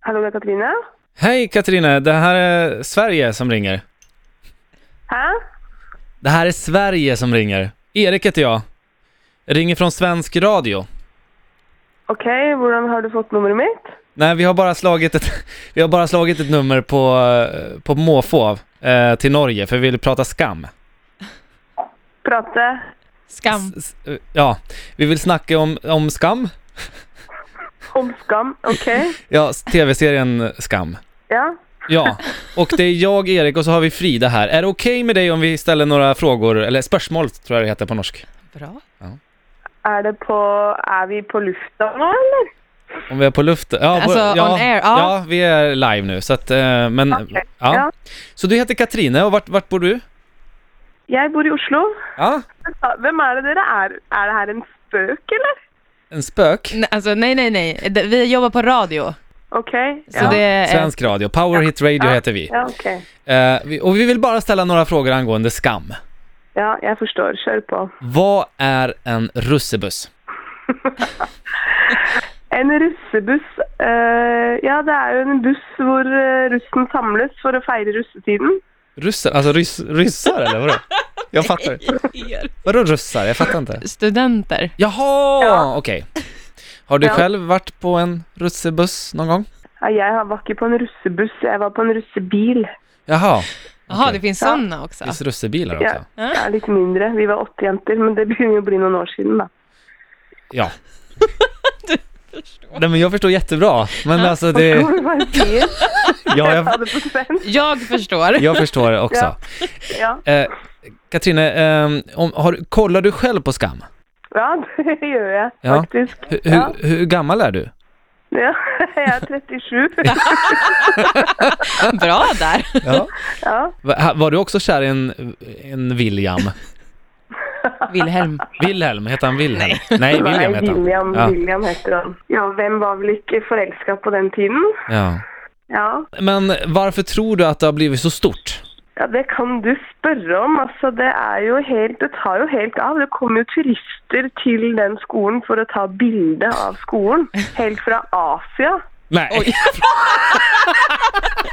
Hallå, det är Katarina? Hej Katarina, det här är Sverige som ringer. Ha? Det här är Sverige som ringer. Erik heter jag. Ringer från svensk radio. Okej, hur har du fått numret mitt? Nej, vi har bara slagit ett, vi har bara slagit ett nummer på, eh, på måfå eh, till Norge, för vi vill prata skam. Prata. Skam. S- eh, Ja, vi vill snacka om, om skam. Om skam. Okej. Ja, s- tv-serien Skam. Ja. Ja, och det är jag, Erik, och så har vi Frida här. Är det okej med dig om vi ställer några frågor, eller spörsmål tror jag det heter på norsk? Bra. Är det på... Är vi på luften nu, eller? Om vi är på luft? Ja, Alltså, vår- ja, on air, ja. ja, vi är live nu, så att, eh, men, Okej, ja. ja. Så du heter Katrine, och vart, vart bor du? Jag bor i Oslo. Ja, Ja, Vem är det dere är? Är det här en spök, eller? en spök. Nej, alltså, nej, nej, nej. Det- Vi jobbar på radio. Okej. Så ja. det är... Svensk radio, Power Hit Radio heter vi. ja, okej. Eh, vi. Och vi vill bara ställa några frågor angående skam. Ja, jag förstår. Kör på. Vad är en russebuss? En russebuss. eh, ja, det er jo en buss hvor eh, russen samles for å feire russetiden. Russar, alltså rys, ryssar eller vadå? Jag fattar inte. Vadå russar? Jag fattar inte. Studenter. Jaha, Ja. okej. Har du Ja. själv varit på en russebuss någon gång? Ja, Jeg var ikke på en russebuss, jag var på en russebil. Jaha, Jaha, Okej. det finns sådana också. finns russebilar Ja. också? Ja, litt mindre. Vi var åtte jenter, men det begynner jo å bli noen år siden, da. Ja. Nej men jag förstår jättebra, men alltså det... Tror du hva jeg sier? Ja, Jeg sa jag, det på svensk. Jag förstår. jag förstår också. Ja, Eh, Katrine, eh, om, har, du- kollar du själv på Skam? ja det gjør jeg Ja. faktisk. Hur, Ja. hur, hur gammal är du? Ja, jeg er 37. Bra där. Ja. Ja. Va- Var du också kär i en, en William? Wilhelm. Wilhelm, heter han Wilhelm? Nej, William Nei, heter han. William, Ja. William heter han. Ja, hvem var vel ikke forelska på den tiden? Ja. Ja. Men varför tror du att det har blivit så stort? Ja, det kan du spørre om. Altså, det er jo helt Det tar jo helt av. Det kommer jo turister til den skolen for å ta bilde av skolen. Helt fra Asia. Nej,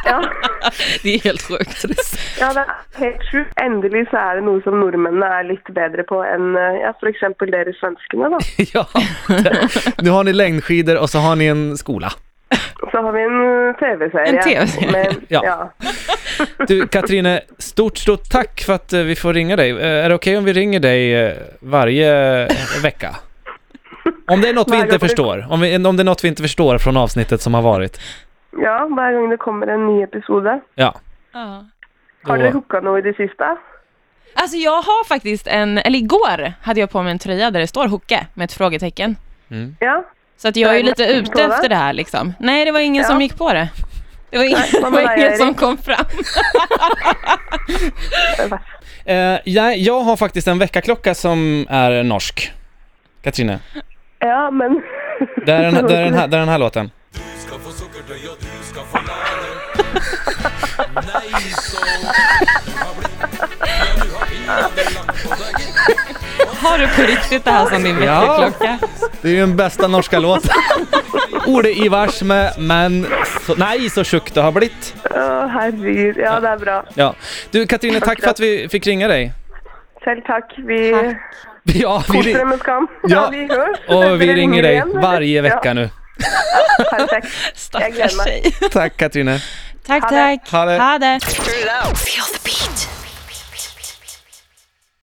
Ja, Det är helt sjukt. ja det er helt sjukt. Endelig så er det noe som nordmennene er litt bedre på enn eh, ja, f.eks. dere svenskene, da. ja. Nu har ni längdskidor og så har ni en skola. Så har vi en eh, TV-serie. En TV-serie. Med, Ja. ja. Du Katrine, stort stort tack för att eh, vi får ringa dig. Eh, Är det okej om vi ringer dig eh, varje eh, vecka? Om det är något vi Varje inte gång det- förstår, om, vi, om det är något vi inte förstår från avsnittet som har varit. ja, hver gang det kommer en ny episode. Ja. Ja. Har dere Då, hooka noe i det siste? Alltså jag har faktiskt en, eller igår hade jag på mig en tröja där det står Hocke med ett frågetecken. Ja? Så att jag är ju Nej, lite men- ute efter det här liksom. Nej, det var ingen Ja. som gick på det. Det var ingen, Nej, vad det var menar ingen jag, som Erik? kom fram. eh, jag, jag har faktiskt en veckaklocka som är norsk. Katrine, Ja, men det är den, det är den, här, det är den här låten. Du ska få sockerdöj och du ska få läder Nej så Du har blivit Ja du har blivit lack på dig Har du på riktigt det här som din Ja. väckarklocka? Det är ju den bästa norska låten. Ole Ivars med Men... Så, nej, så sjukt det har blivit. Å, herregud. Ja, det er bra. Ja. Du Katrine, tack för att vi fick ringa dig. Selv takk. Vi Takk. Ja, vi, koser ri- med skam. Ja. vi høres. och vi Dere ringer dig igjen, eller? varje Ja, vecka nu. perfekt. glömmer. Stackars tjej. Tack Katrine. Tack, Ha det. tack. Ha det. Ha det. Feel the beat.